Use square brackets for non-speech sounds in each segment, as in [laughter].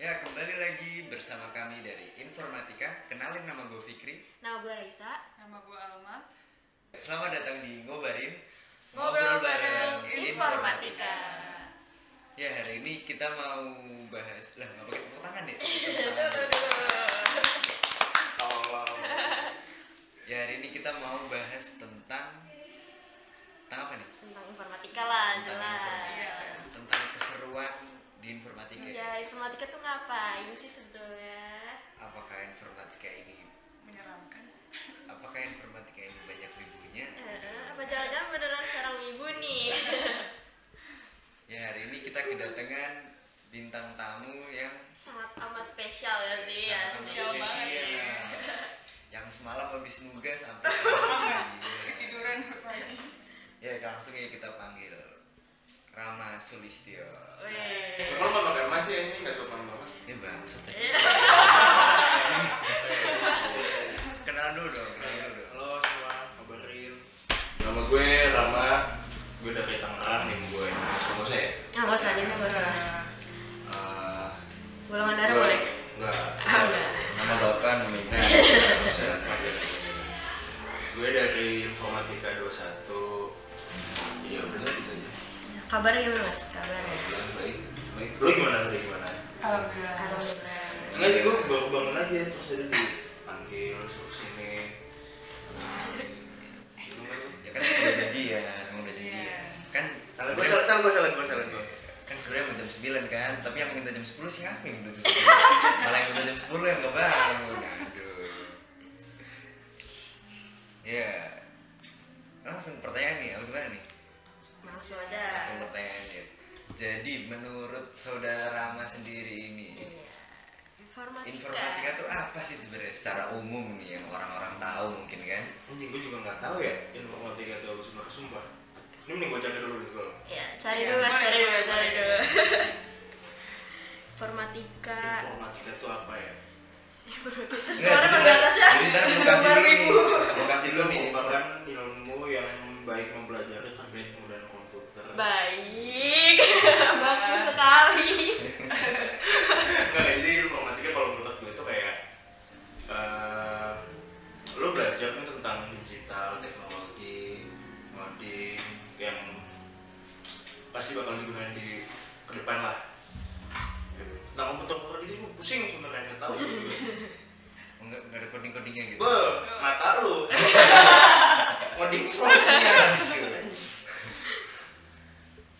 Ya, bersama kami dari Informatika. Kenalin nama gue Fikri. Nah, gue Raisa. Nama gue Alma. Selamat datang di Ngobarin Ngobrol bareng Informatika. Ya hari ini kita mau bahas lah nggak pakai tepuk tangan ya. Tolong. ya hari ini kita mau bahas tentang tentang apa nih? Tentang informatika lah, Tentang jelas. informatika. Tentang keseruan di informatika. Iya, informatika tuh ngapain sih sebetulnya? Apakah informatika ini Menyeramkan. apakah informatika ini banyak wibunya? Eh, eh, apa jangan-jangan beneran sekarang ibu nih? [laughs] Ya hari ini kita kedatangan bintang tamu yang Sangat amat spesial ya sih ya. sangat spesial banget, iya. Yang semalam habis nugas sampai pagi. Ketiduran pagi. ya langsung ya kita panggil Rama Sulistyo. Weh. Kalau nggak pakai emas ya ini nggak sopan banget. Ini bang, sudah. Eh, kenal dulu dong, kenal dulu dong. Halo semua, kabarin. Nama gue Rama. Gue dari Tangerang nih gue. Kamu saya. Eh, Ah, nggak usah, dia mah baru ras. Golongan darah boleh? Enggak. Ah, enggak. Iya. Nama bapak, nama ibu. Nah, nggak usah, nggak usah. Gue dari Informatika 21. Iya benar gitu aja. Kabarnya gimana mas? Kabarnya? Alhamdulillah, Baik, baik. Lu gimana? Lu gimana? Alhamdulillah. Alhamdulillah. Enggak sih, gue baru bangun aja terus tadi dipanggil suruh sini. Gitu kan. Ya kan emang udah janjian, emang udah Iya. janjian. Kan Salah gue, salah gue, salah gue, salah gue. kan sebenarnya mau jam 9 kan, tapi yang minta jam 10 siapa yang minta jam 10? Malah yang minta jam 10 yang gak bangun. Aduh. Ya. Langsung pertanyaan nih, apa gimana nih? Langsung aja. Langsung pertanyaan ya. Jadi menurut saudara Rama sendiri ini, Iya. Informatika. informatika tuh apa sih sebenarnya secara umum nih yang orang-orang tahu mungkin kan? Anjing gue juga nggak tahu ya informatika itu apa sumpah sumpah. Ini mending gue cari dulu nih gue. Iya, cari Iya, dulu, Mas, boleh, cari dulu, boleh, cari boleh. dulu. [laughs] Informatika. Informatika itu apa ya? Suara pembatasnya. jadi ntar [laughs] gue kasih dulu nih, gue kasih Itu dulu nih. merupakan ilmu yang baik mempelajari terkait penggunaan komputer. Baik, [laughs] bagus sekali. Enggak, jadi informatika kalau menurut gue itu kayak eh lo belajar nih tentang digital, teknologi, coding yang pasti bakal digunakan di ke depan lah. Tentang komputer gitu gue pusing sebenarnya nggak tahu. Enggak enggak ada coding-codingnya gitu. Be, mata lu. Coding solusinya.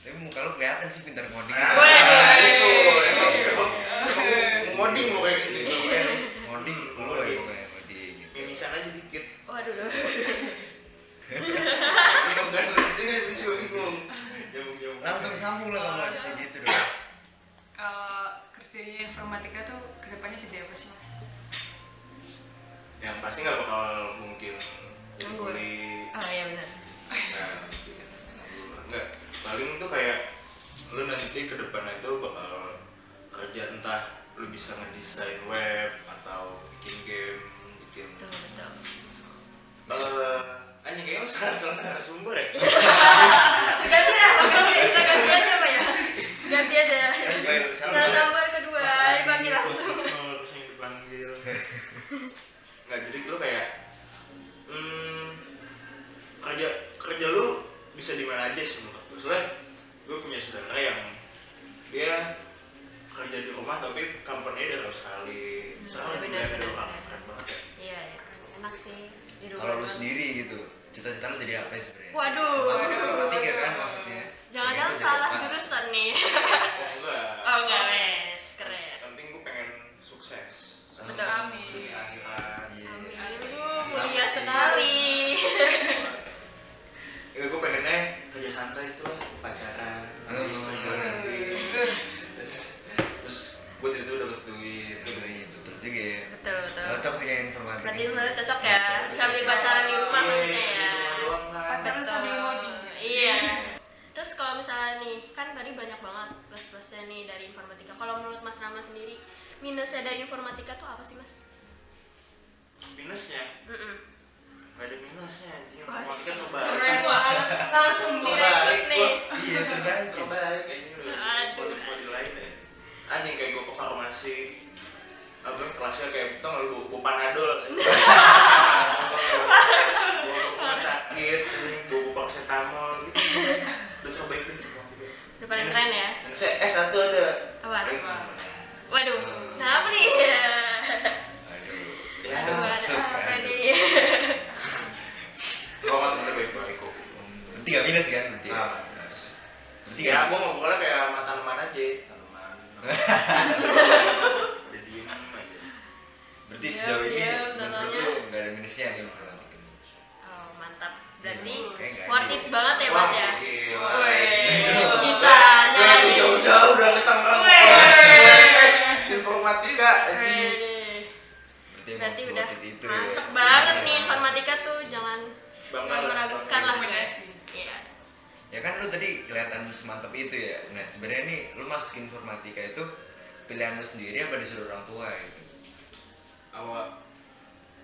Tapi muka lu kelihatan sih pintar coding. Nah, itu emang emang emang ngoding mau kayak Jadi gitu. itu kan Iya. ngoding lu ya pokoknya ngoding gitu. Mimisan aja dikit. Waduh. Bingung kan lu itu kan itu juga bingung. Nyambung-nyambung. Langsung sambung lah kalau bisa gitu dong. Iya. Kalau kerja di informatika tuh kedepannya jadi apa sih mas? yang pasti nggak bakal mungkin jadi Nganggur. kuli Oh iya benar. nah mungkin nganggur. nggak Nah, paling itu kayak lu nanti ke depan itu bakal kerja entah lu bisa ngedesain web atau bikin game bikin Betul betul. Eh, anjing kayaknya lu salah salah narasumber ya Ganti ya, ganti kita ganti aja apa ya? Ganti aja. Kan gue yang Nah, salah. nomor kedua dipanggil langsung. terus yang dipanggil [laughs] nggak jadi gue kayak hmm, kerja kerja lu bisa di mana aja sih menurut gue soalnya gue punya saudara yang dia kerja di rumah tapi company dari Australia Hmm, sekarang di benar, dari benar, orang benar. keren banget ya Iya, iya. enak sih. di rumah. Kalau lu sendiri gitu, cita-cita lu jadi apa sih sebenarnya? Iya. Waduh. Masuk ke informatika kan maksudnya. Pengen Jangan-jangan lu jadi salah apa? jurusan nih. [laughs] oh enggak Oh enggak, wes. Keren. Yang penting gue pengen sukses sama Betul. dunia akhirat Iya. Amin. Aduh, mulia sekali. Ya, gue Eh, pengennya kerja santai itu lah, pacaran, Hmm. istri gue nanti Terus, terus gue tiba-tiba dapet duit Betul, iya, Betul juga ya. Betul betul. Cocok sih ya kayak informatika. Berarti sih. sebenarnya Iya, cocok ya, sambil pacaran di rumah Iya, maksudnya di ya. rumah doang kan Pacaran sambil Betul. ngoding. Iya. Terus kalau misalnya nih, kan tadi banyak banget plus-plusnya nih dari informatika. Kalau menurut Mas Rama sendiri, minusnya dari informatika tuh apa sih, Mas? Minusnya, Mm-mm. gak ada minusnya anjing Wah, Informatika keren ngebahas banget. Langsung direplik Terbaik, nih. Iya, terbaik. Terbaik, anjing udah Aduh. produk-produk lain ya Anjing kayak gue ke farmasi apa kelasnya kayak tau nggak lu bu, bu [laughs] panadol Bu- bu bu rumah sakit bu bu paracetamol gitu udah cobain deh Udah paling keren ya? yang saya eh satu ada Apa? Eh, Eh, Waduh, Hmm. kenapa nih? ya, [laughs] Aduh. Ya, Buat masuk, apa aduh. nih? gua nggak temennya baik baik kok Berarti nggak minus kan? Berarti. Nah. Berarti ya nggak- gua mau pokoknya kayak sama tanaman aja tanaman udah diem aja Berarti Diam, sejauh ini diam, menurut nontonnya. lu nggak ada minusnya nih informatik ini. [laughs] Oh, mantap. Berarti Iya, oke, nggak worth ada. it banget ya, Wah, Mas ya? gila. Wih, Aduh. kita Gua lagi jauh-jauh udah ke Tangerang. Weh. Gua Tes informatika. anjing. Wih, Berarti emang Berarti udah seworth Iya, it itu. ya. mantep banget nih Iya. informatika tuh, jangan Bangga jangan lah. meragukan lah. Rekomendasi. Iya. Ya kan lu tadi kelihatan semantap itu ya. Nah sebenarnya nih lu masuk informatika itu pilihan lu sendiri apa disuruh orang tua gitu. Awal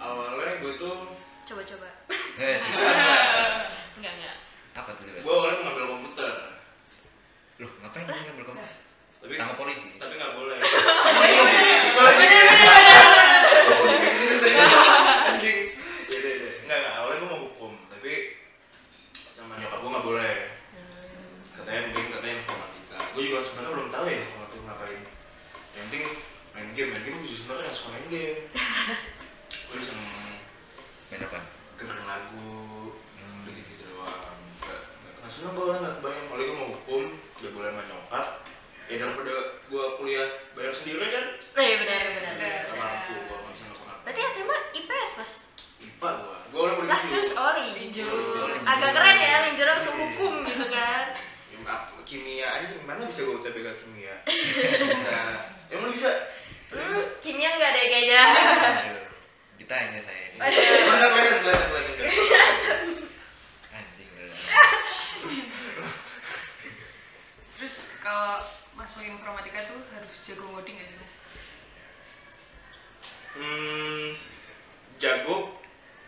awalnya gue tuh Coba-coba. Eh, Enggak, enggak. apa tuh? Bas? gue awalnya mau ngambil komputer. Loh ngapain lu ngambil komputer? Tapi Tangkap polisi. tapi nggak boleh. Iya, Situ lagi. Anjing. Iya iya iya. Nggak nggak. Awalnya gue mau hukum tapi sama nyokap gue nggak boleh. Katanya mungkin katanya informatika. Gue juga sebenarnya belum tahu ya informatika ngapain. Yang penting main game main game gue sebenarnya nggak suka main game. Gue seneng Main apa? dengerin lagu begitu gitu doang nggak nggak seneng gue orang nggak kebayang kalau gue mau hukum udah boleh sama nyokap ya daripada gue kuliah bayar sendiri kan Nah, iya benar, benar. Benar. nggak iya. mampu gue nggak bisa ngapa Berarti SMA IPS, Mas. ipa gue gue orang gitu. Lah udah terus oh. oli Linjur. Agak keren ya, linjur langsung hukum gitu kan. Ya, kimia anjing mana bisa gue UTBK [laughs] kimia nah emang lu bisa Hmm, kimia enggak deh kayaknya. Ditanya saya. ini. Aduh. Kelihatan, kelihatan, kelihatan, kelihatan. Anjing. beneran. Terus kalau masuk informatika tuh harus jago ngoding gak sih mas? Hmm, jago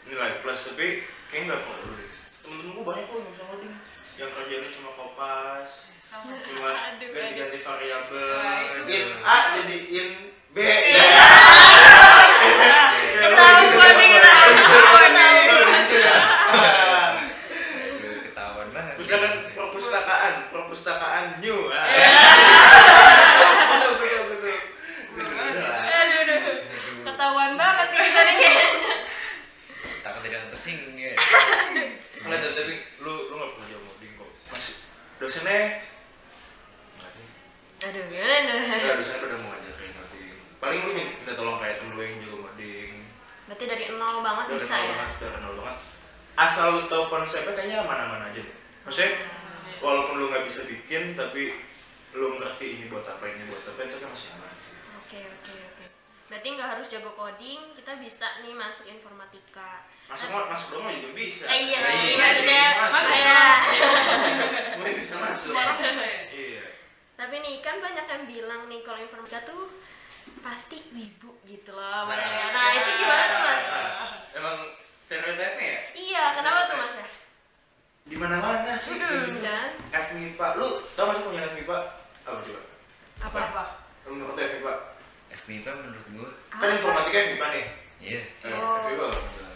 nilai plus tapi kayaknya nggak perlu deh. Temen-temen gue banyak kok yang bisa ngoding, yang kerjanya cuma kopas, Sama. cuma [laughs] Aduh, Nah, ganti-ganti variabel, Wah, itu. in A jadiin B. [laughs] Ya. Iya. Ya, Ketahuan gitu, nih, gitu, ketahuan. gitu, Ketahuan gitu, nih. gitu, gitu. Ah. Aduh, Ketahuan banget. Misalkan perpustakaan, perpustakaan new. Ah. Iya. [laughs] Betul, betul, betul. Betul, betul. Aduh, aduh. Aduh, Ketahuan banget nih kita nih kayaknya. Takut tidak tersinggung ya. Enggak tahu, tapi lu lu nggak pernah jauh ngoding kok. Mas dosennya nggak ada. Aduh, gimana Nggak, nih? dosennya udah mau ngajarin ngoding. Paling lu min- minta tolong kayak temen lu yang jago ngoding. Berarti dari nol banget Udah bisa kenal ya. banget, udah kenal banget. Asal lu tahu konsepnya kayaknya aman-aman aja deh. Maksudnya walaupun lu nggak bisa bikin tapi lu ngerti ini buat apa ini buat apa itu kan masih aman. Oke, oke, oke. Berarti nggak harus jago coding, kita bisa nih masuk informatika. Masuk mau masuk doang juga bisa. Eh, iya Nah, sih, iya, maksudnya masuk. saya. Semuanya bisa masuk. Semua orang bisa ya? Iya. Tapi nih kan banyak yang bilang nih kalau informatika tuh pasti wibu gitu loh. banyak yang- Nah, itu gimana tuh, Mas? Emang stereotipnya ya? Iya, kenapa tuh, Mas ya? Di mana-mana sih. Hmm, Gitu. kan? FMIPA, lu tau gak sih punya FMIPA? Apa coba? Apa? Apa? Menurut lu FMIPA? FMIPA menurut gua, Kan informatika FMIPA nih iya. Eh, Oh. FMIPA apa?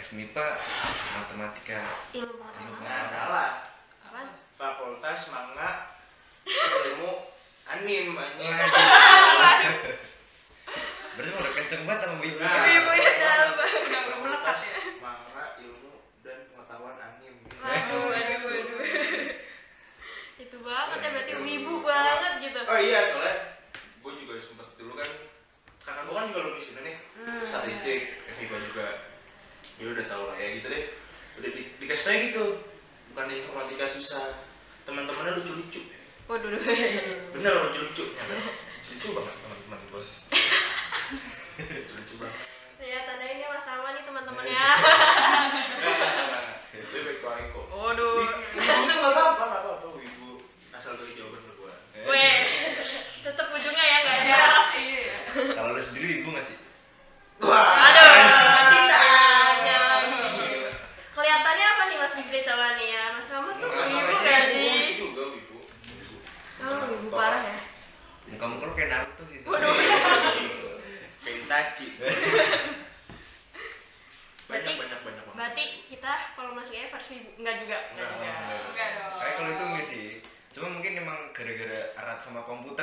FMIPA matematika. Ilmu Nah, matematika. salah Apa? Fakultas Manga Ilmu Anim anjing. iya. Berarti udah kenceng banget sama Wibu. Nah, Ibu ya, dalam. Fakultas Melekat ya. Manga Ilmu dan Pengetahuan Anim Waduh, waduh, waduh. [laughs] Itu banget ya berarti wibu banget gitu. Oh iya, soalnya gue juga sempet dulu kan kakak gue kan juga lulus ini nih Hmm. statistik FIBA juga dia udah tau lah ya gitu deh udah di, dikasih tau gitu bukan informatika susah teman-temannya lucu-lucu Waduh, duh. bener lucu-lucu nyata lucu banget teman-teman gue lucu banget Ya, tandain ini Mas Rama nih teman-teman [laughs] ya. lebih baik kau Eko Waduh. itu nggak apa-apa nggak tahu apa ibu asal dari jawaban ke gue Weh. Tetap ujungnya ya enggak ada. Iya. Iya. Kalau lu sendiri Wibu nggak sih? wah Aduh, ditanya lagi. gila. Kelihatannya apa nih Mas Bigre coba nih ya? Mas Rama tuh wibu gak sih? Wibu juga wibu. Oh, wibu parah ya. Muka-muka lu kayak Naruto sih. Iya. Waduh. sebenarnya.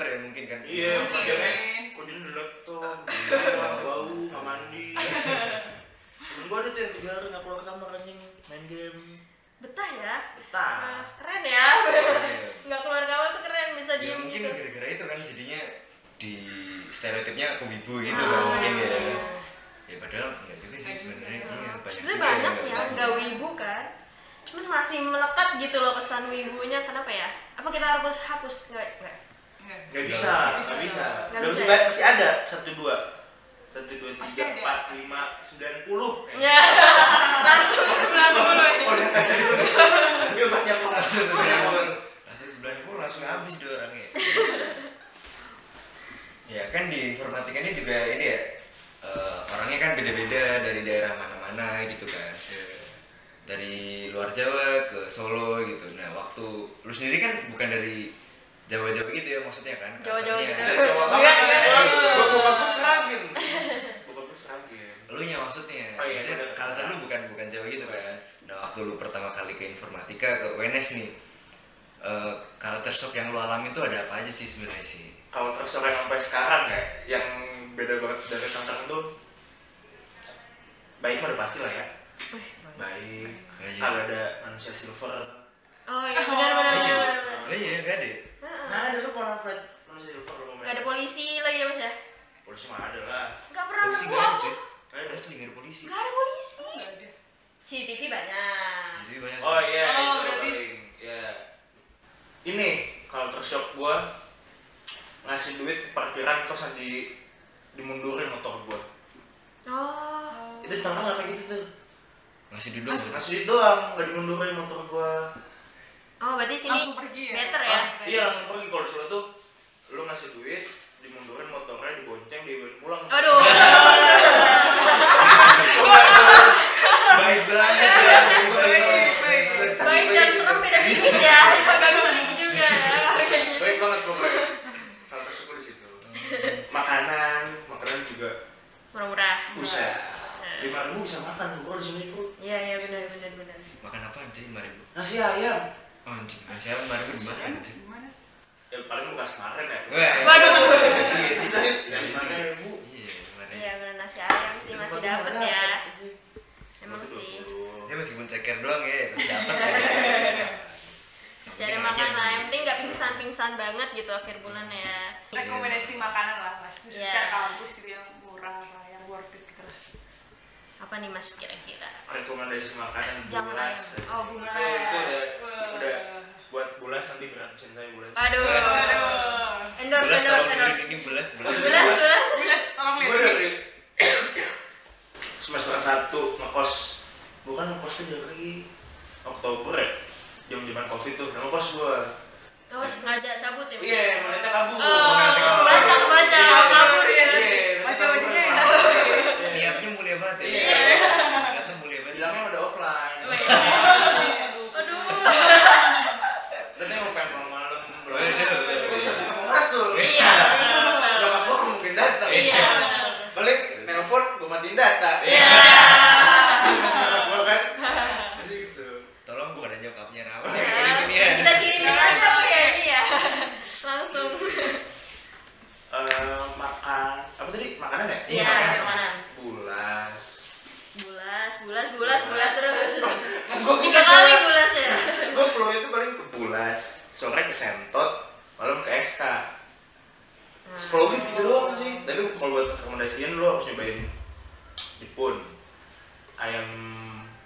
Iya, ya kan. Iya, Iya. Iya. aja tiga hari nggak keluar kamar anjing main game betah ya Nah, betah keren ya [laughs] Iya. nggak keluar gaul tuh keren bisa ya diem mungkin gitu gara-gara itu kan jadinya di stereotipnya aku wibu gitu Ah, kan mungkin ya iya. gitu. ya padahal enggak juga sih sebenarnya iya banyak sebenarnya juga banyak ya nggak nggak tahu. wibu kan cuman masih melekat gitu loh kesan wibunya kenapa ya apa kita harus hapus nggak nggak Enggak. nggak Nggak bisa bisa. nggak bisa Nggak udah bisa. banyak masih ada satu dua satu dua Pasti ada. tiga empat lima sembilan puluh ya [laughs] langsung Sebelah dulu ya. udah tadi udah Dia banyak banget langsung sebulan pun langsung sebulan pun langsung habis dua orangnya ya kan di informatika ini juga ini ya eh, orangnya kan beda-beda dari daerah mana-mana gitu kan dari luar Jawa ke Solo gitu nah waktu lu sendiri kan bukan dari Jawa-Jawa gitu ya maksudnya kan Jawa-Jawa kantornya. gitu. Jawa banget Iya, ya. iya. Gua bokapnya [laughs] seragin. Bokapnya seragin. lu nya maksudnya Oh iya, Maksudnya bener. culture lu bukan bukan Jawa gitu kan nah waktu lu pertama kali ke informatika ke UNS nih eh culture shock yang lu alami itu ada apa aja sih sebenarnya sih kalau terserah yang sampai sekarang ya yang beda banget dari tantang tuh baik mah udah pasti lah ya baik Baik. kalau ada manusia silver oh iya benar Iya. benar benar benar. Lah iya gak ada Heeh. nah ada lu kalau flight manusia silver lu nggak ada polisi lagi ya mas ya polisi mah ada lah nggak pernah polisi nemu gak ada aku cuy Ada. asli gak ada polisi nggak ada polisi Enggak ada. CCTV banyak jadi banyak oh iya Oh, itu berarti- paling ya ini kalau shock gua ngasih duit ke parkiran terus di dimundurin motor gua oh itu di tantang kayak gitu tuh ngasih duduk ngasih duit doang nggak dimundurin motor gua oh berarti sini Langsung pergi ya. better ya Ah, iya langsung pergi kalau disuruh tuh lu ngasih duit dimundurin motornya dibonceng dibawain pulang aduh baik [laughs] banget ya baik gitu. banget. Baik, baik. baik dan serem beda tipis ya nggak boleh juga ya baik banget pokoknya salah tersyukur di situ makanan makanan juga murah-murah bisa Nah. lima ribu bisa makan bro di sini bro Iya iya benar benar benar. makan apa anjing mari bu nasi ayam Oh, anjing nasi ayam mari bu di mana anjing Gimana? ya paling bukan kemarin ya Wah. Waduh. itu ya lima ribu iya kemarin Iya benar nasi ayam sih masih dapat ya. Emang sih dia meskipun ceker doang ya tapi [laughs] dapat ya masih ada Iya, makan lah. Yang penting nggak pingsan-pingsan banget gitu akhir bulan ya. Rekomendasi makanan lah pasti Iya. secara kampus gitu yang murah lah, yang worth it gitu lah. Apa nih mas kira-kira? rekomendasi makanan Jangan bulas ayam. Oh, bulas. itu, itu udah, Wah. udah buat bulas nanti kan, gratisin saya bulas Aduh. Iya. Waduh. Endorse belas endorse tolong endorse. ini belas belas Belas belas. Bulas, tolong gue lihat. dari [coughs] semester satu ngekos bukan ngekos tuh dari Oktober ya jam jaman covid tuh nah, ngekos gue Oh sengaja cabut ya? Mas? iya mulutnya kabur Oh, baca baca Iya. kabur ya. Iya, Baca mulutnya bajunya ya. kabur. Iya. niatnya mulia banget ya Iya. niatnya mulia banget bilangnya udah offline Oh, iya. Aduh. nanti mau pengen pulang malam bro Iya, Waduh. gue sudah mau ngatur Iya. nyokap gue mungkin datang Iya. balik nelpon gue matiin data Iya. gue kan jadi gitu tolong kepada nyokapnya rawa Iya. kirim ini ya Kita kirimin aja Pak, ya ini ya. Langsung. Eh, makan apa tadi makanan ya? Iya, Iya makanan. kemana? Bulas. Bulas bulas bulas bulas terus. Gua Tiga kita kali jalan. bulas ya. Gue pulau itu paling ke bulas, sore ke sentot, malam ke SK. Hmm. Sepuluh gitu, gitu doang sih. Tapi kalau buat rekomendasiin lo harus nyobain Jepun, ayam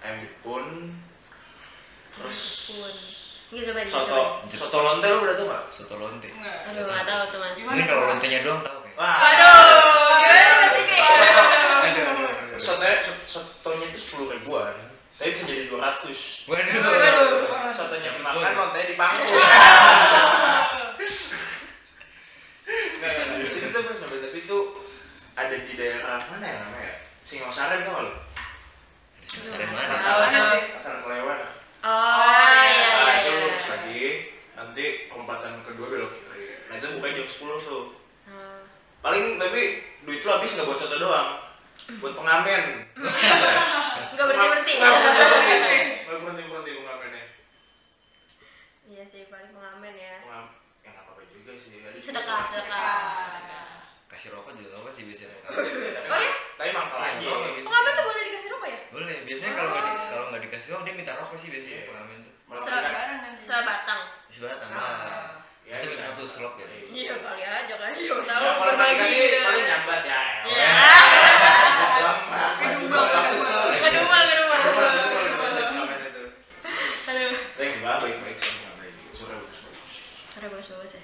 ayam Jepun, terus Pun. Ini coba ini coba. soto soto lonte lo udah tau nggak? soto lonte Enggak. Aduh, nggak tahu tuh mas. Gimana? ini kalau lontenya doang tau kayak Wah. Aduh, gimana ngerti kayak? aduh aduh, aduh aduh. Soto sotonya itu sepuluh ribuan, tapi bisa jadi dua ratus. waduh Sotonya dimakan, lontanya dipangku. Nggak, nggak, nggak. Nah, Itu tuh sampai tapi itu ada di daerah mana ya namanya? ya? Singosari tau nggak lu? Sore Nggak mana tahu, nggak tahu. Pasar Kelewan. Oh iya Nah, iya itu iya. lurus lagi, nanti perempatan kedua belok kiri. Nah itu bukannya jam 10 tuh. Hmm. Paling tapi duit lu habis nggak buat soto doang, buat pengamen. Nggak berhenti berhenti. Nggak berhenti berhenti. Nggak berhenti berhenti pengamennya. Iya sih paling pengamen ya. Pengam- Ya nggak apa-apa juga sih. Tadi Sedekah sedekah. kasih rokok juga apa sih biasanya Tapi- Oh ya? Tapi mangkal aja. Iya, Pengamen tuh boleh dikasih rokok ya? boleh Iya, slot ya Iya kali aja kan, iya tahu Ya, kalau matematika berbagi. sih paling nyambat ya. Iya. Kedua, kedua, Kedua, kedua. Aduh, Tapi enggak baik-baik sih, enggak baik. Suara bagus-bagus. ada bagus-bagus ya.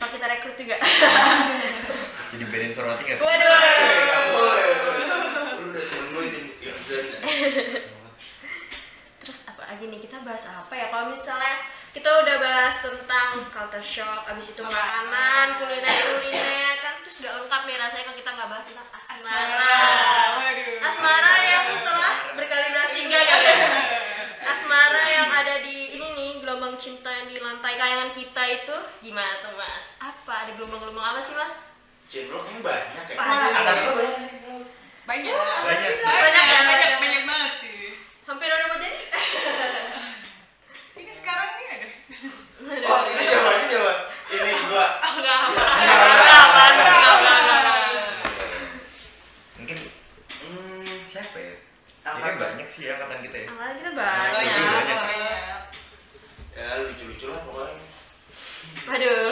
Pak kita rekrut juga. jadi band ya? informatika Eh, [laughs] Waduh. nggak boleh. Lu udah temen gue ini, ya, misalnya. Terus apa lagi nih kita bahas apa ya? Kalau misalnya kita udah bahas tentang culture shock, abis itu makanan, kuliner-kuliner kan terus gak lengkap nih rasanya kalau kita nggak bahas tentang asmara. Waduh. Asmara ya. yang telah berkali belas tiga ya. Asmara yang ada di ini nih gelombang cinta yang di lantai kayangan kita itu gimana tuh mas? Apa ada gelombang-gelombang apa sih mas? Cendol kayaknya banyak ya. Banyak. Anak lu banyak. Banyak Banyak. sih. Banyak, Banyak, banyak, banyak. banyak banget sih. Hampir udah mau jadi. Ini sekarang nih ada. Oh, ini coba, ini coba. Ini gua. Enggak apa. Enggak apa. Enggak apa. mungkin hmm, siapa ya Apa? Kayaknya banyak sih ya angkatan kita ya Angkatan Oh, kita banyak. iya, banyak. Ya, lucu-lucu lah pokoknya. Waduh.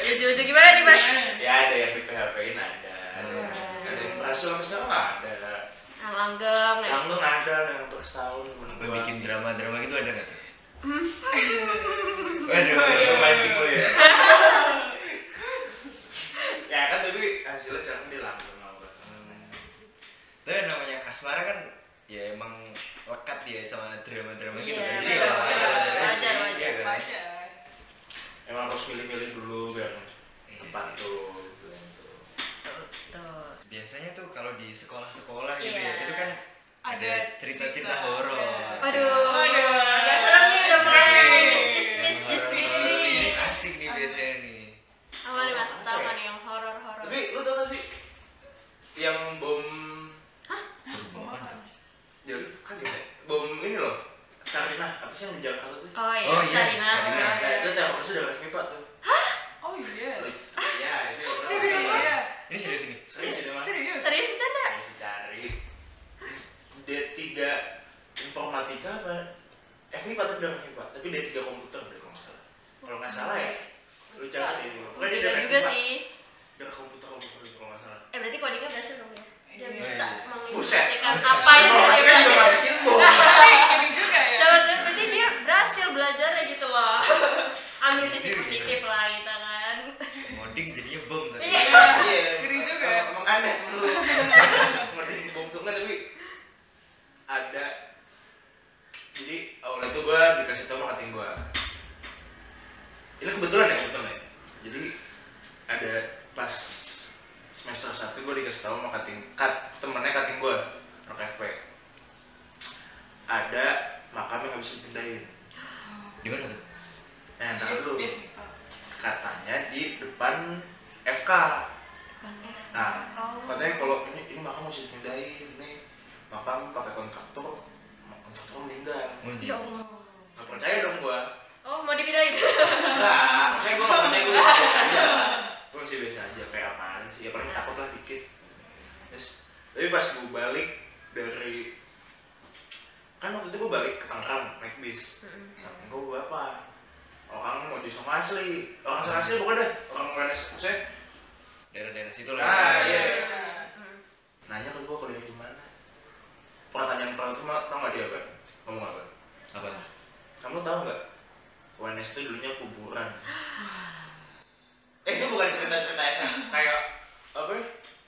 Lucu-lucu gimana nih mas? Ya, ada yang di PHP-in ada. Ada Iya. yang- Ada yang berhasil sampai sekarang ada. Yang langgeng. ya. Langsung ada yang untuk setahun. Sampai [laughs] bikin drama-drama gitu ada nggak tuh Itu Waduh, mancing lu ya. [laughs] ya kan tapi hasilnya sekarang dia langsung apa? tapi yang namanya asmara kan ya emang lekat dia sama drama-drama gitu Iya, kan jadi ya betul, betul, wajar wajar aja wajar, sih, wajar, iya kan? Wajar. Emang harus milih-milih dulu biar tempat tuh. gitu. biar tuh. Tuh. biasanya tuh kalau di sekolah-sekolah gitu Iya. ya itu kan ada Ada cerita-cerita cerita. horor Waduh. Waduh. Agak serem nih udah mulai. Serem. Tis tis tis Horor-horor ini tis. asik nih biasanya nih Apa nih mas? Tahu kan yang horor horor? Tapi lu tau gak sih yang bom Bom apa tuh? jadi kan gitu ya? Bom ini loh. Sarina, apa sih yang di Jakarta tuh? Oh iya. Oh iya, Sarina. Sarina. Nah, itu saya waktu itu udah live pipa tuh. Oh iya. Ya, ini Iya, iya, iya. ini serius ini Serius ini mas. Serius. Serius bercanda? Saya sih cari D3 informatika apa? FIPA tapi udah FIPA, tapi D3 komputer deh kalau nggak salah. Kalau nggak salah ya, lu cari deh. Pokoknya dia Juga udah juga FIPA, sih. Udah komputer komputer gitu kalau nggak salah. Eh berarti kodingnya berhasil dong ya? Dia Iya. bisa Buset. menginformasikan [laughs] apa yang sudah dia Informatika juga belajar. nggak bikin bom. Ini juga ya. Dapat berarti dia berhasil belajar ya gitu loh. [laughs] Ambil sisi positif lah kita kan. ngoding jadinya bom tadi Iya. Iya. Ngeri juga. ya. Emang- Emang aneh lu. Ngerti bom tuh nggak, tapi ada. Jadi awalnya tuh gua dikasih tau sama kating gua. Ini kebetulan ya kebetulan ya. Jadi ada pas semester 1 gua dikasih tau sama kating kat temennya kating gua Rock FP. Ada makam yang nggak bisa dipindahin. di mana tuh Nah, ntar Dia- dulu dia suka. katanya di depan FK. Nah, katanya kalau ini, ini makam harus dipindahin nih makam pakai kontraktor mak- kontraktor meninggal Oh, iya. Ya Allah. nggak percaya dong gua Oh mau [laughs] dipindahin? nggak saya gua nggak percaya gua masih biasa aja gua masih biasa aja kayak apaan sih ya paling takut lah dikit terus tapi pas gua balik dari kan waktu itu gua balik ke Tangerang naik bis Mm-mm. sama gua apa orang mau jadi sama asli orang sama asli bukan deh orang bukan saya daerah-daerah situ lah Ah, iya. Hmm. nanya ke gua kuliah di mana pertanyaan pertama tau gak dia apa ngomong apa apa kamu tahu nggak UNS itu dulunya kuburan eh ini bukan cerita cerita SMA kayak apa ya?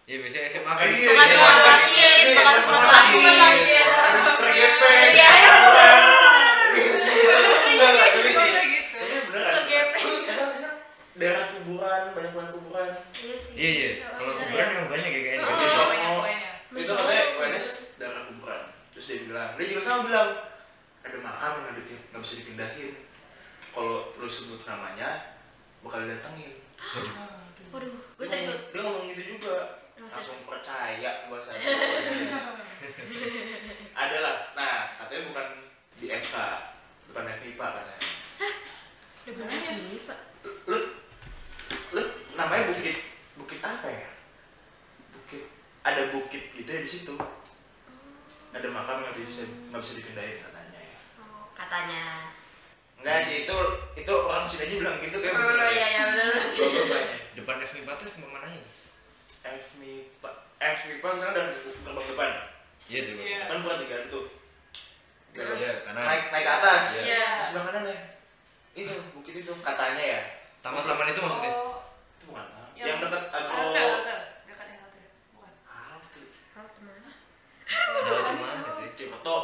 ya biasanya SMA kan gitu. Iya, Bukan iya, cuma iya. sakit, Iya, bukan iya, cuma iya. sakit. Iya, ada dokter gepeng. Iya. Enggak, enggak, tapi sih. Iya, gitu. Tapi beneran. Dokter gepeng. Lu sadar, sadar. daerah kuburan banyak banget kuburan Iya sih. iya iya kalau Bener kuburan ya. emang banyak ya Oh, kayaknya Itu shock. banyak, banyak. itu katanya UNS daerah kuburan terus dia bilang dia juga sama bilang ada makam yang nggak dipi- nggak bisa dipindahin kalau lu sebut namanya bakal datengin Waduh, gue serius. dia ngomong gitu juga Emang langsung percaya gua saya [laughs] adalah nah katanya bukan di FK bukan FIPA katanya Udah ya? bener nih, Iya, Pak. lu lu namanya bukit bukit apa ya bukit ada bukit gitu ya di situ ada makam yang nggak bisa nggak bisa dipindahin katanya ya Oh, Katanya. Enggak sih itu itu orang sini aja bilang gitu kayak Oh, iya, iya, bener. Belum banyak. Depan FMIPA tuh FMIPA mana aja? FMIPA FMIPA misalnya dari gerbang depan Iya dulu. Iya. kan perhatikan tuh Iya, karena naik naik ke atas Iya. Iya. Nah, sebelah kanan ya itu bukit itu katanya ya taman-taman itu maksudnya. Oh, itu bukan taman Iya. Yang- yang dekat agro halte, halte. Dekat yang halte. Bukan. halte Ada di mana sih? Kyoto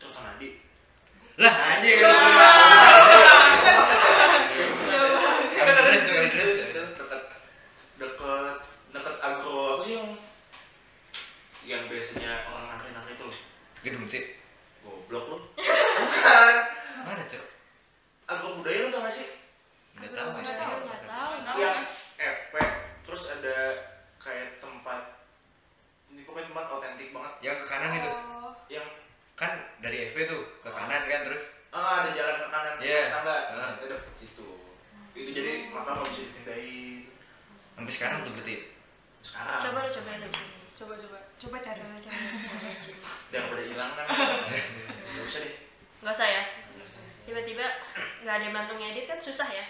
Kyoto Nadi Lah, Iya. anjing. lu bilang. Kan terus terus terus. itu dekat dekat dekat agro apa sih yang yang biasanya orang nari-nari itu loh Gedung C. goblok lu bukan Mana, Cok? agro budaya lu tau gak sih Enggak tahu. Nggak anjing. tahu, nggak tahu. Tahu yang kan? FP terus ada kayak tempat ini pokoknya tempat otentik banget Yang ke kanan itu. Oh, yang Kan dari FP tuh ke kanan kan terus. ah ada jalan ke kanan Iya. ke tangga Ah. itu deket situ itu jadi makam nggak bisa dipindahin Sampai sekarang tuh berarti. sekarang Coba lu cobain deh. Coba coba coba cari. daripada hilang kan nggak usah deh Gak usah ya? Tiba-tiba nggak ada yang bantu ngedit kan susah ya?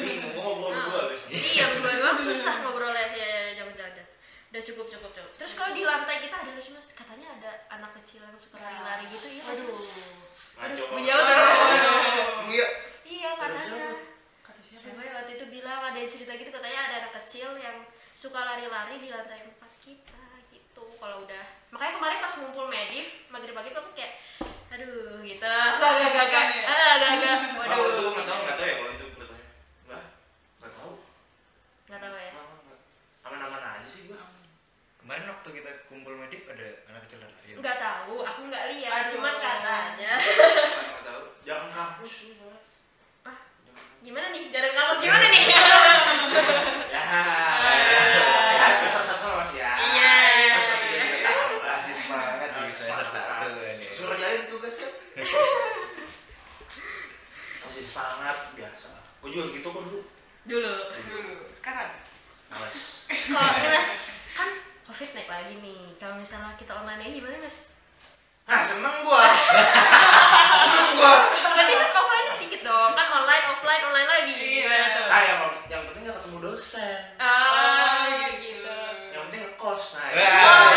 bingung ngobrol berdua abis ini Iya, berdua-dua susah ngobrolnya. Ya, ya, ya, jangan jangan. jangan. Udah cukup, cukup, cukup. Terus kalau di lantai kita ada nggak sih mas? Katanya ada anak kecil yang Iya. suka lari-lari gitu ya mas? Aduh. ngaco Menjauh banget. terus. iya Iya katanya. Kata siapa? Siapa ya waktu itu bilang ada yang cerita gitu katanya ada anak kecil yang suka lari-lari di lantai empat kita gitu. Kalau udah makanya kemarin pas ngumpul medif maghrib pagi tuh aku kayak aduh [laughs] gitu agak agak agak agak agak Kalau itu waduh nggak ya? tahu nggak tahu ya kalau itu beritanya nggak nggak tahu nggak tahu ya Nggak, nggak. aman-aman aja sih [laughs] gua Kemarin waktu kita kumpul medif ada anak kecil Iya. lari. nggak tahu aku nggak lihat Aduh. cuman [laughs] katanya nggak tahu jangan kampus lu Bang. Ah. Jangan gimana nih jalan kamu gimana nih [laughs] ya ya semester satu lah, mas ya Ah. Iya. Semester tiga juga ya. Masih semangat di Masih semester satu kan ya. suruh kerjain tugasnya [laughs] masih semangat biasa gue juga gitu kok dulu dulu Dulu. Sekarang. awas [laughs] kalau ini mas kan covid naik lagi nih kalau misalnya kita online aja gimana mas ah seneng gua seneng gua berarti mas offline dikit dong kan online offline online lagi Iya. Gitu. ah yang, yang penting gak ketemu dosen ah gitu yang penting ngekos nah ya. Wah.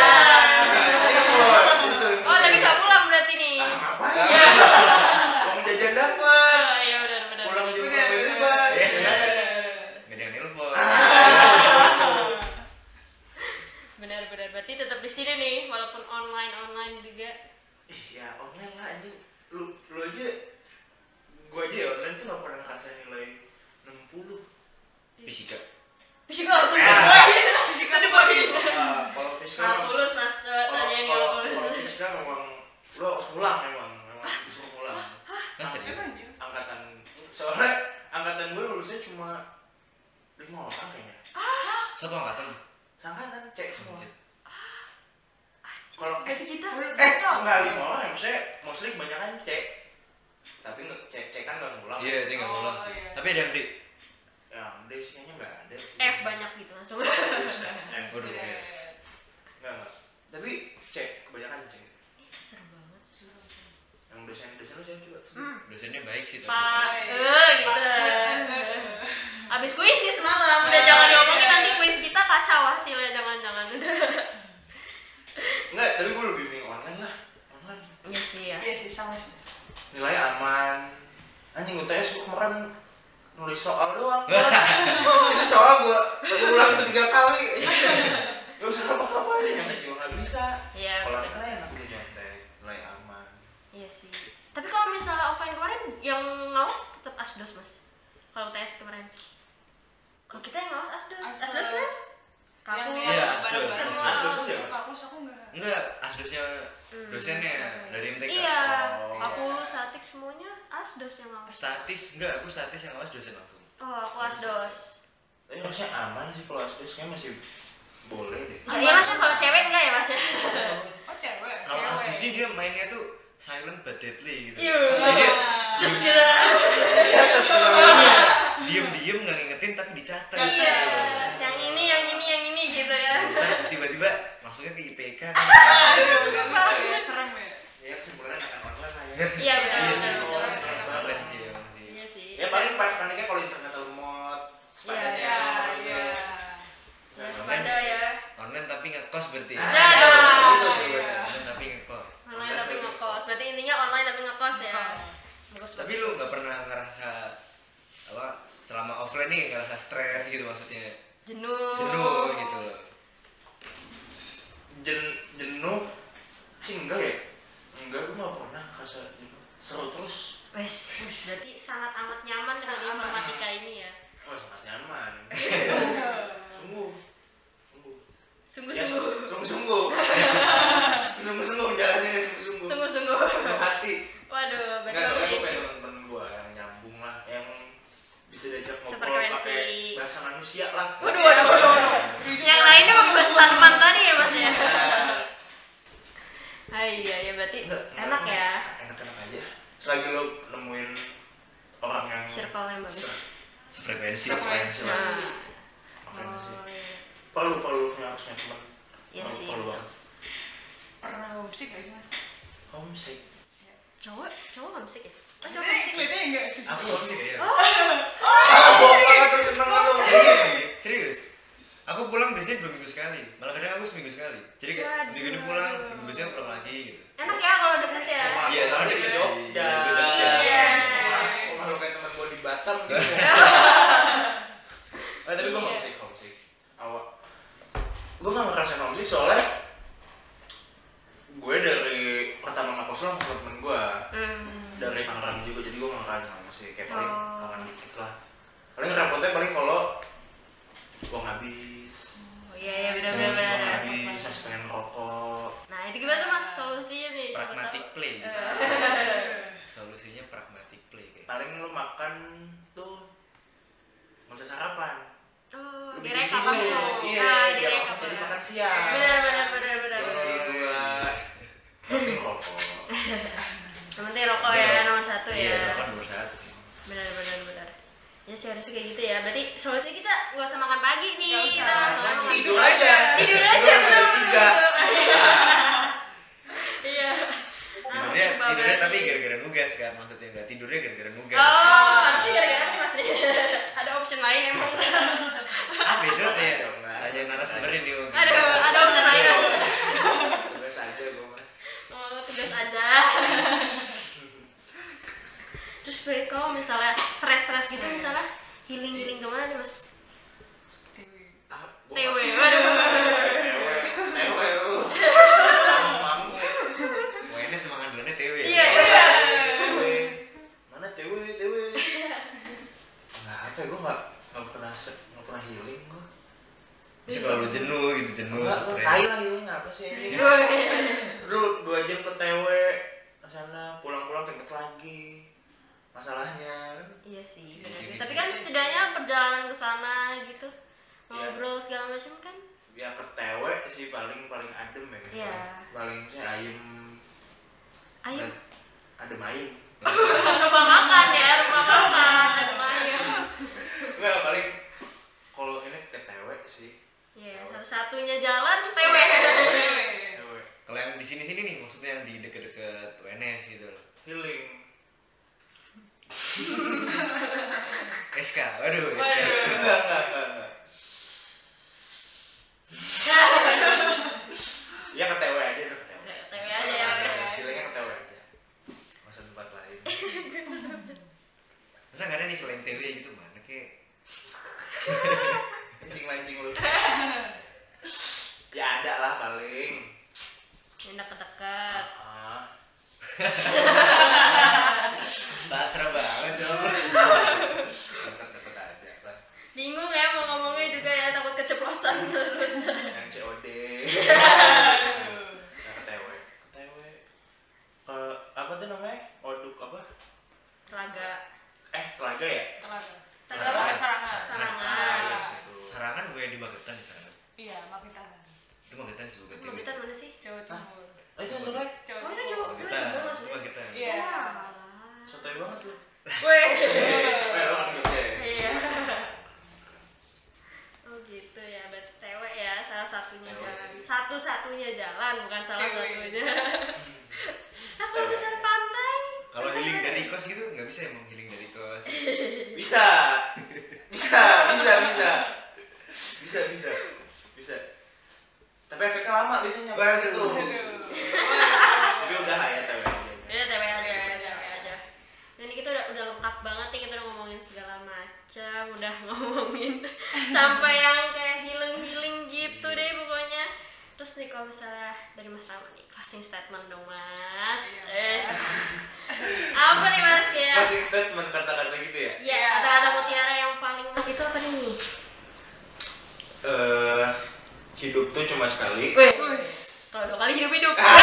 Yang penting ngekos itu oh yang tapi penting. nggak pulang berarti nih ah ngapain uang jajan dapat oh iya benar benar pulang jam Bener. berapa bebas Iya. ya kan? Nggak ada yang nelpon. benar benar berarti tetap di sini nih walaupun online online juga Ih, ya online lah anjing lu lu aja gua aja ya online tuh gak pernah ngerasain nilai 60 Fisika. bisa gue langsung Ah. ngejelasin fisika di body Ah, kalau fiskal kalkulus mas eh, kalau tanyain kalau kalkulus kalau fiskal memang lu harus ngulang memang memang disuruh ngulang Ah, Nah, serius. Keren ya. angkatan soalnya angkatan gue lulusnya cuma lima orang kayaknya Satu angkatan tuh. sangkatan cek Oh. semua Anjir. kalau eh berarti kita eh nggak lima orang ya, maksudnya mostly kebanyakan cek tapi nggak cek cek kan nggak ngulang Iya, dia nggak Oh, ngulang sih. iya. Tapi ada yang D. ya udah sih kayaknya nggak ada sih F banyak gitu langsung Terus, F. Waduh. Nggak, Iya. nggak. tapi cek kebanyakan cek serem banget sih yang dosen dosen lu siapa coba sebut. hmm. Dosennya baik sih Pak, tapi. Iya. eh gitu. Abis kuis nih semalam, udah jangan ngomongin nanti kuis kita kacau hasilnya jangan-jangan. nggak tapi gue lebih milih online lah online [laughs] Iya sih ya. Iya sih sama sih. nilai aman anjing UTS gue kemarin nulis soal doang itu soal gue ulang tiga kali gak usah apa-apa nyontek juga gak bisa Iya. kalau betul. nyontek kan enak gue nyontek nilai aman Iya sih. Tapi kalau misalnya offline kemarin yang ngawas tetap asdos mas. Kalau UTS kemarin. Kalau kita yang ngawas asdos. Asdos. Asdos mas. Kamu. Yang di Iya, atas asdos. barang-barang. Semua asdos Kalau ya? Kampus aku nggak. Enggak, asdosnya Hmm, dosennya dari MTK. Iya. Oh. Aku statik semuanya asdos yang ngawas. Statis enggak, aku statis yang awas dosen langsung. Oh aku asdos. tapi maksudnya aman sih kalau asdos kayaknya masih boleh [laughs] deh Jadi ya, mas kalau cewek enggak ya mas ya. Oh cewek. Kalau cewek. asdos ini dia mainnya tuh silent but deadly gitu. [laughs] Iya. Jadi dia Just jelas. diem-diem nggak ngingetin tapi dicatat. gitu. Iya. Yang ini, yang ini, yang ini gitu ya. Ntar tiba-tiba masuknya ke [laughs] IPK kan. Iya, Serem ya. Serem ya. ya Iya, kesimpulannya akan online lah ya Iya betul. Iya sih. betul, betul. Keren sih emang sih. Ya, Iya, Iya, ya. ya. ngekos berarti. Nah, Itu iya. jawabannya, tapi ngekos. online tapi ngekos berarti intinya online tapi ngekos ya Bagus Tapi lu nggak pernah ngerasa apa selama offline nih ngerasa stres gitu maksudnya jenuh jenuh gitu loh. Jen, jenuh sih enggak ya enggak gue nggak pernah kerasa jenuh seru terus Wes, berarti sangat amat nyaman dengan Sangat amat. informatika ini ya oh, sangat [laughs] nyaman sungguh sungguh Ya, sungguh-sungguh [laughs] sungguh-sungguh sungguh-sungguh jalaninnya sungguh-sungguh sungguh-sungguh [laughs] ya, Penuh hati waduh Enggak, soalnya berarti gue pengen temen-temen gue yang nyambung lah, yang bisa diajak ngobrol Sefrekuensi. pakai bahasa manusia lah. Waduh, waduh, waduh, waduh. yang lainnya mau bahas Salman tadi ya mas ya Iya. ah, iya ya berarti Enggak, enak ya Enak-enak aja. Selagi lo nemuin orang yang circle yang bagus Sefrekuensi. Sefrekuensi. nah Makanya sih. oh, iya. perlu perlu punya harusnya teman. Iya Perlu- sih, Perlu betul. banget. Pernah homesick gak sih mas? Homesick. cowok cowok homesick ya oh, cowok Kelihatannya homesick kelihatannya enggak sih. Aku sih ya. Ah, bohong banget tuh seneng lu. Serius, serius. Aku pulang biasanya dua minggu sekali, malah kadang aku seminggu sekali. Jadi kayak Waduh. minggu ini pulang, minggu besoknya pulang lagi gitu. enak ya kalau deket ya Sama- Iya, sama sama dia dia. ke Jogja. Iya, dia ke Jogja. Sama- Kalau kayak teman gue di Batam [laughs] gitu. Eh, tapi gue Iya. homesick, homesick. Awak. Gue gak ngerasain homesick soalnya gue dari pertama ngekos lo sama temen gue hmm. dari Tangerang juga jadi gue gak ngerasain homesick kayak paling Oh. kangen dikit lah paling repotnya paling kalau uang habis oh iya ya Tuh, benar-benar uang benar. habis masih pengen rokok nah itu gimana tuh mas solusinya nih siapa Pragmatic tahu. play. gitu. Iya, Eh. [laughs] Solusinya pragmatic play kayak. paling lu makan tuh nggak usah sarapan oh Lu bikin direk apa tidur. tuh iya ah biar direk langsung apa jadi ya? makan siang benar benar benar benar benar Sekali dua Tapi rokok Yang penting rokok ya nomor satu ya Iya, kan nomor satu sih. benar benar benar ya sih harusnya kayak gitu ya berarti solusinya kita nggak usah makan pagi nih Nggak usah kita makan makan pagi. malam. tidur aja Tidur aja, Gua nomor bener. tiga iya Ah, Tidurnya, coba tidurnya berarti. tapi gara-gara nugas kan maksudnya nggak tidurnya gara-gara nugas. Oh, harusnya gara-gara nih, mas [laughs] ada option lain emang Apa itu ya? Enggak. Tanya narasumber ini. Om. aduh ada option lain Tugas aja gue mah Oh, tugas ada. Terus Bre, kalau misalnya stres-stres gitu Stres. misalnya healing-healing kemana nih mas? Dewi. Ah, gua TW, [laughs] waduh. Tewe lu Mamu Wah ini semangat dulunya TW. ya? Iya, iya. Tewe Mana Tewe, Tewe Nggak apa ya, gue nggak nggak pernah se- nggak pernah healing gue Bisa kalau lu jenuh gitu jenuh. Nggak, lu stres. tai lah healing apa sih ini Gue. Lu dua jam ke Tewe Kesana pulang-pulang keinget lagi Masalahnya Iya sih. Iya, bener jadi juga. Tapi kan setidaknya perjalanan ke sana gitu, Iya. ngobrol segala macam kan. Ya ke Tewe sih paling paling adem ya Iya. Paling sih ayem Ayo, Adem ayem [laughs] [laughs] rumah makan ya, rumah makan, rumah ayo. Enggak, paling kalau ini ke Tewe sih Iya, satu-satunya jalan TW. Tewe Kalau yang di sini-sini nih maksudnya yang di deket-deket UNS gitu loh. Healing [laughs] SK, waduh. Waduh. Enggak, enggak, enggak, enggak. Ya ke TW aja deh, ke TW. TW aja ya, udah. Bilangnya ke TW aja. Nggak usah tempat [laughs] lain. Masa nggak ada nih selain TW gitu mana kek? Anjing-anjing lu. Ya ada lah paling. Enak dekat. Ah, Basra banget dong. deket-deket ada lah. Bingung ya mau ngomongnya juga ya takut keceplosan terus. Yang COD. Nah, ke TW. Ke TW. Ke apa tuh namanya? Oduk apa? Raga. Eh, telaga ya? Telaga. Telaga. Telaga Sarangan. Sarangan. Ah, iya, situ. Sarangan gue di Magetan di sana. Iya, makin tahan. Itu Magetan sih bukan TW. Magetan mana sih? Jawa Timur. Eh, itu maksudnya? Jawa Oh, itu Timur. Jawa- Magetan, Gimana sih? itu Magetan. Iya. Sotoy banget [laughs] lu. Weh. Eh, orang Jogja ya? Iya. Oh gitu ya, berarti TW ya salah satunya TW. jalan. Satu-satunya jalan bukan salah TW. satunya. [laughs] Aku kalau misalnya pantai. Kalau healing dari kos gitu nggak bisa emang healing dari kos. bisa bisa bisa bisa bisa bisa bisa tapi efeknya lama biasanya Waduh. Tuh. tapi udah lah ya tapi Udah TW aja, TW aja. Dan kita udah udah lengkap banget nih kita udah ngomongin segala macam, udah [laughs] ngomongin sampai yang kayak healing-healing gitu deh pokoknya. Terus nih kalau misalnya dari Mas Rama nih closing statement dong Mas. Iya. Es. Apa nih Mas kayak? closing statement kata-kata gitu ya Ya Iya. kata-kata mutiara yang paling Mas itu apa nih? Eh, hidup tuh cuma sekali Wih, Wih. kalau dua kali hidup-hidup. [laughs]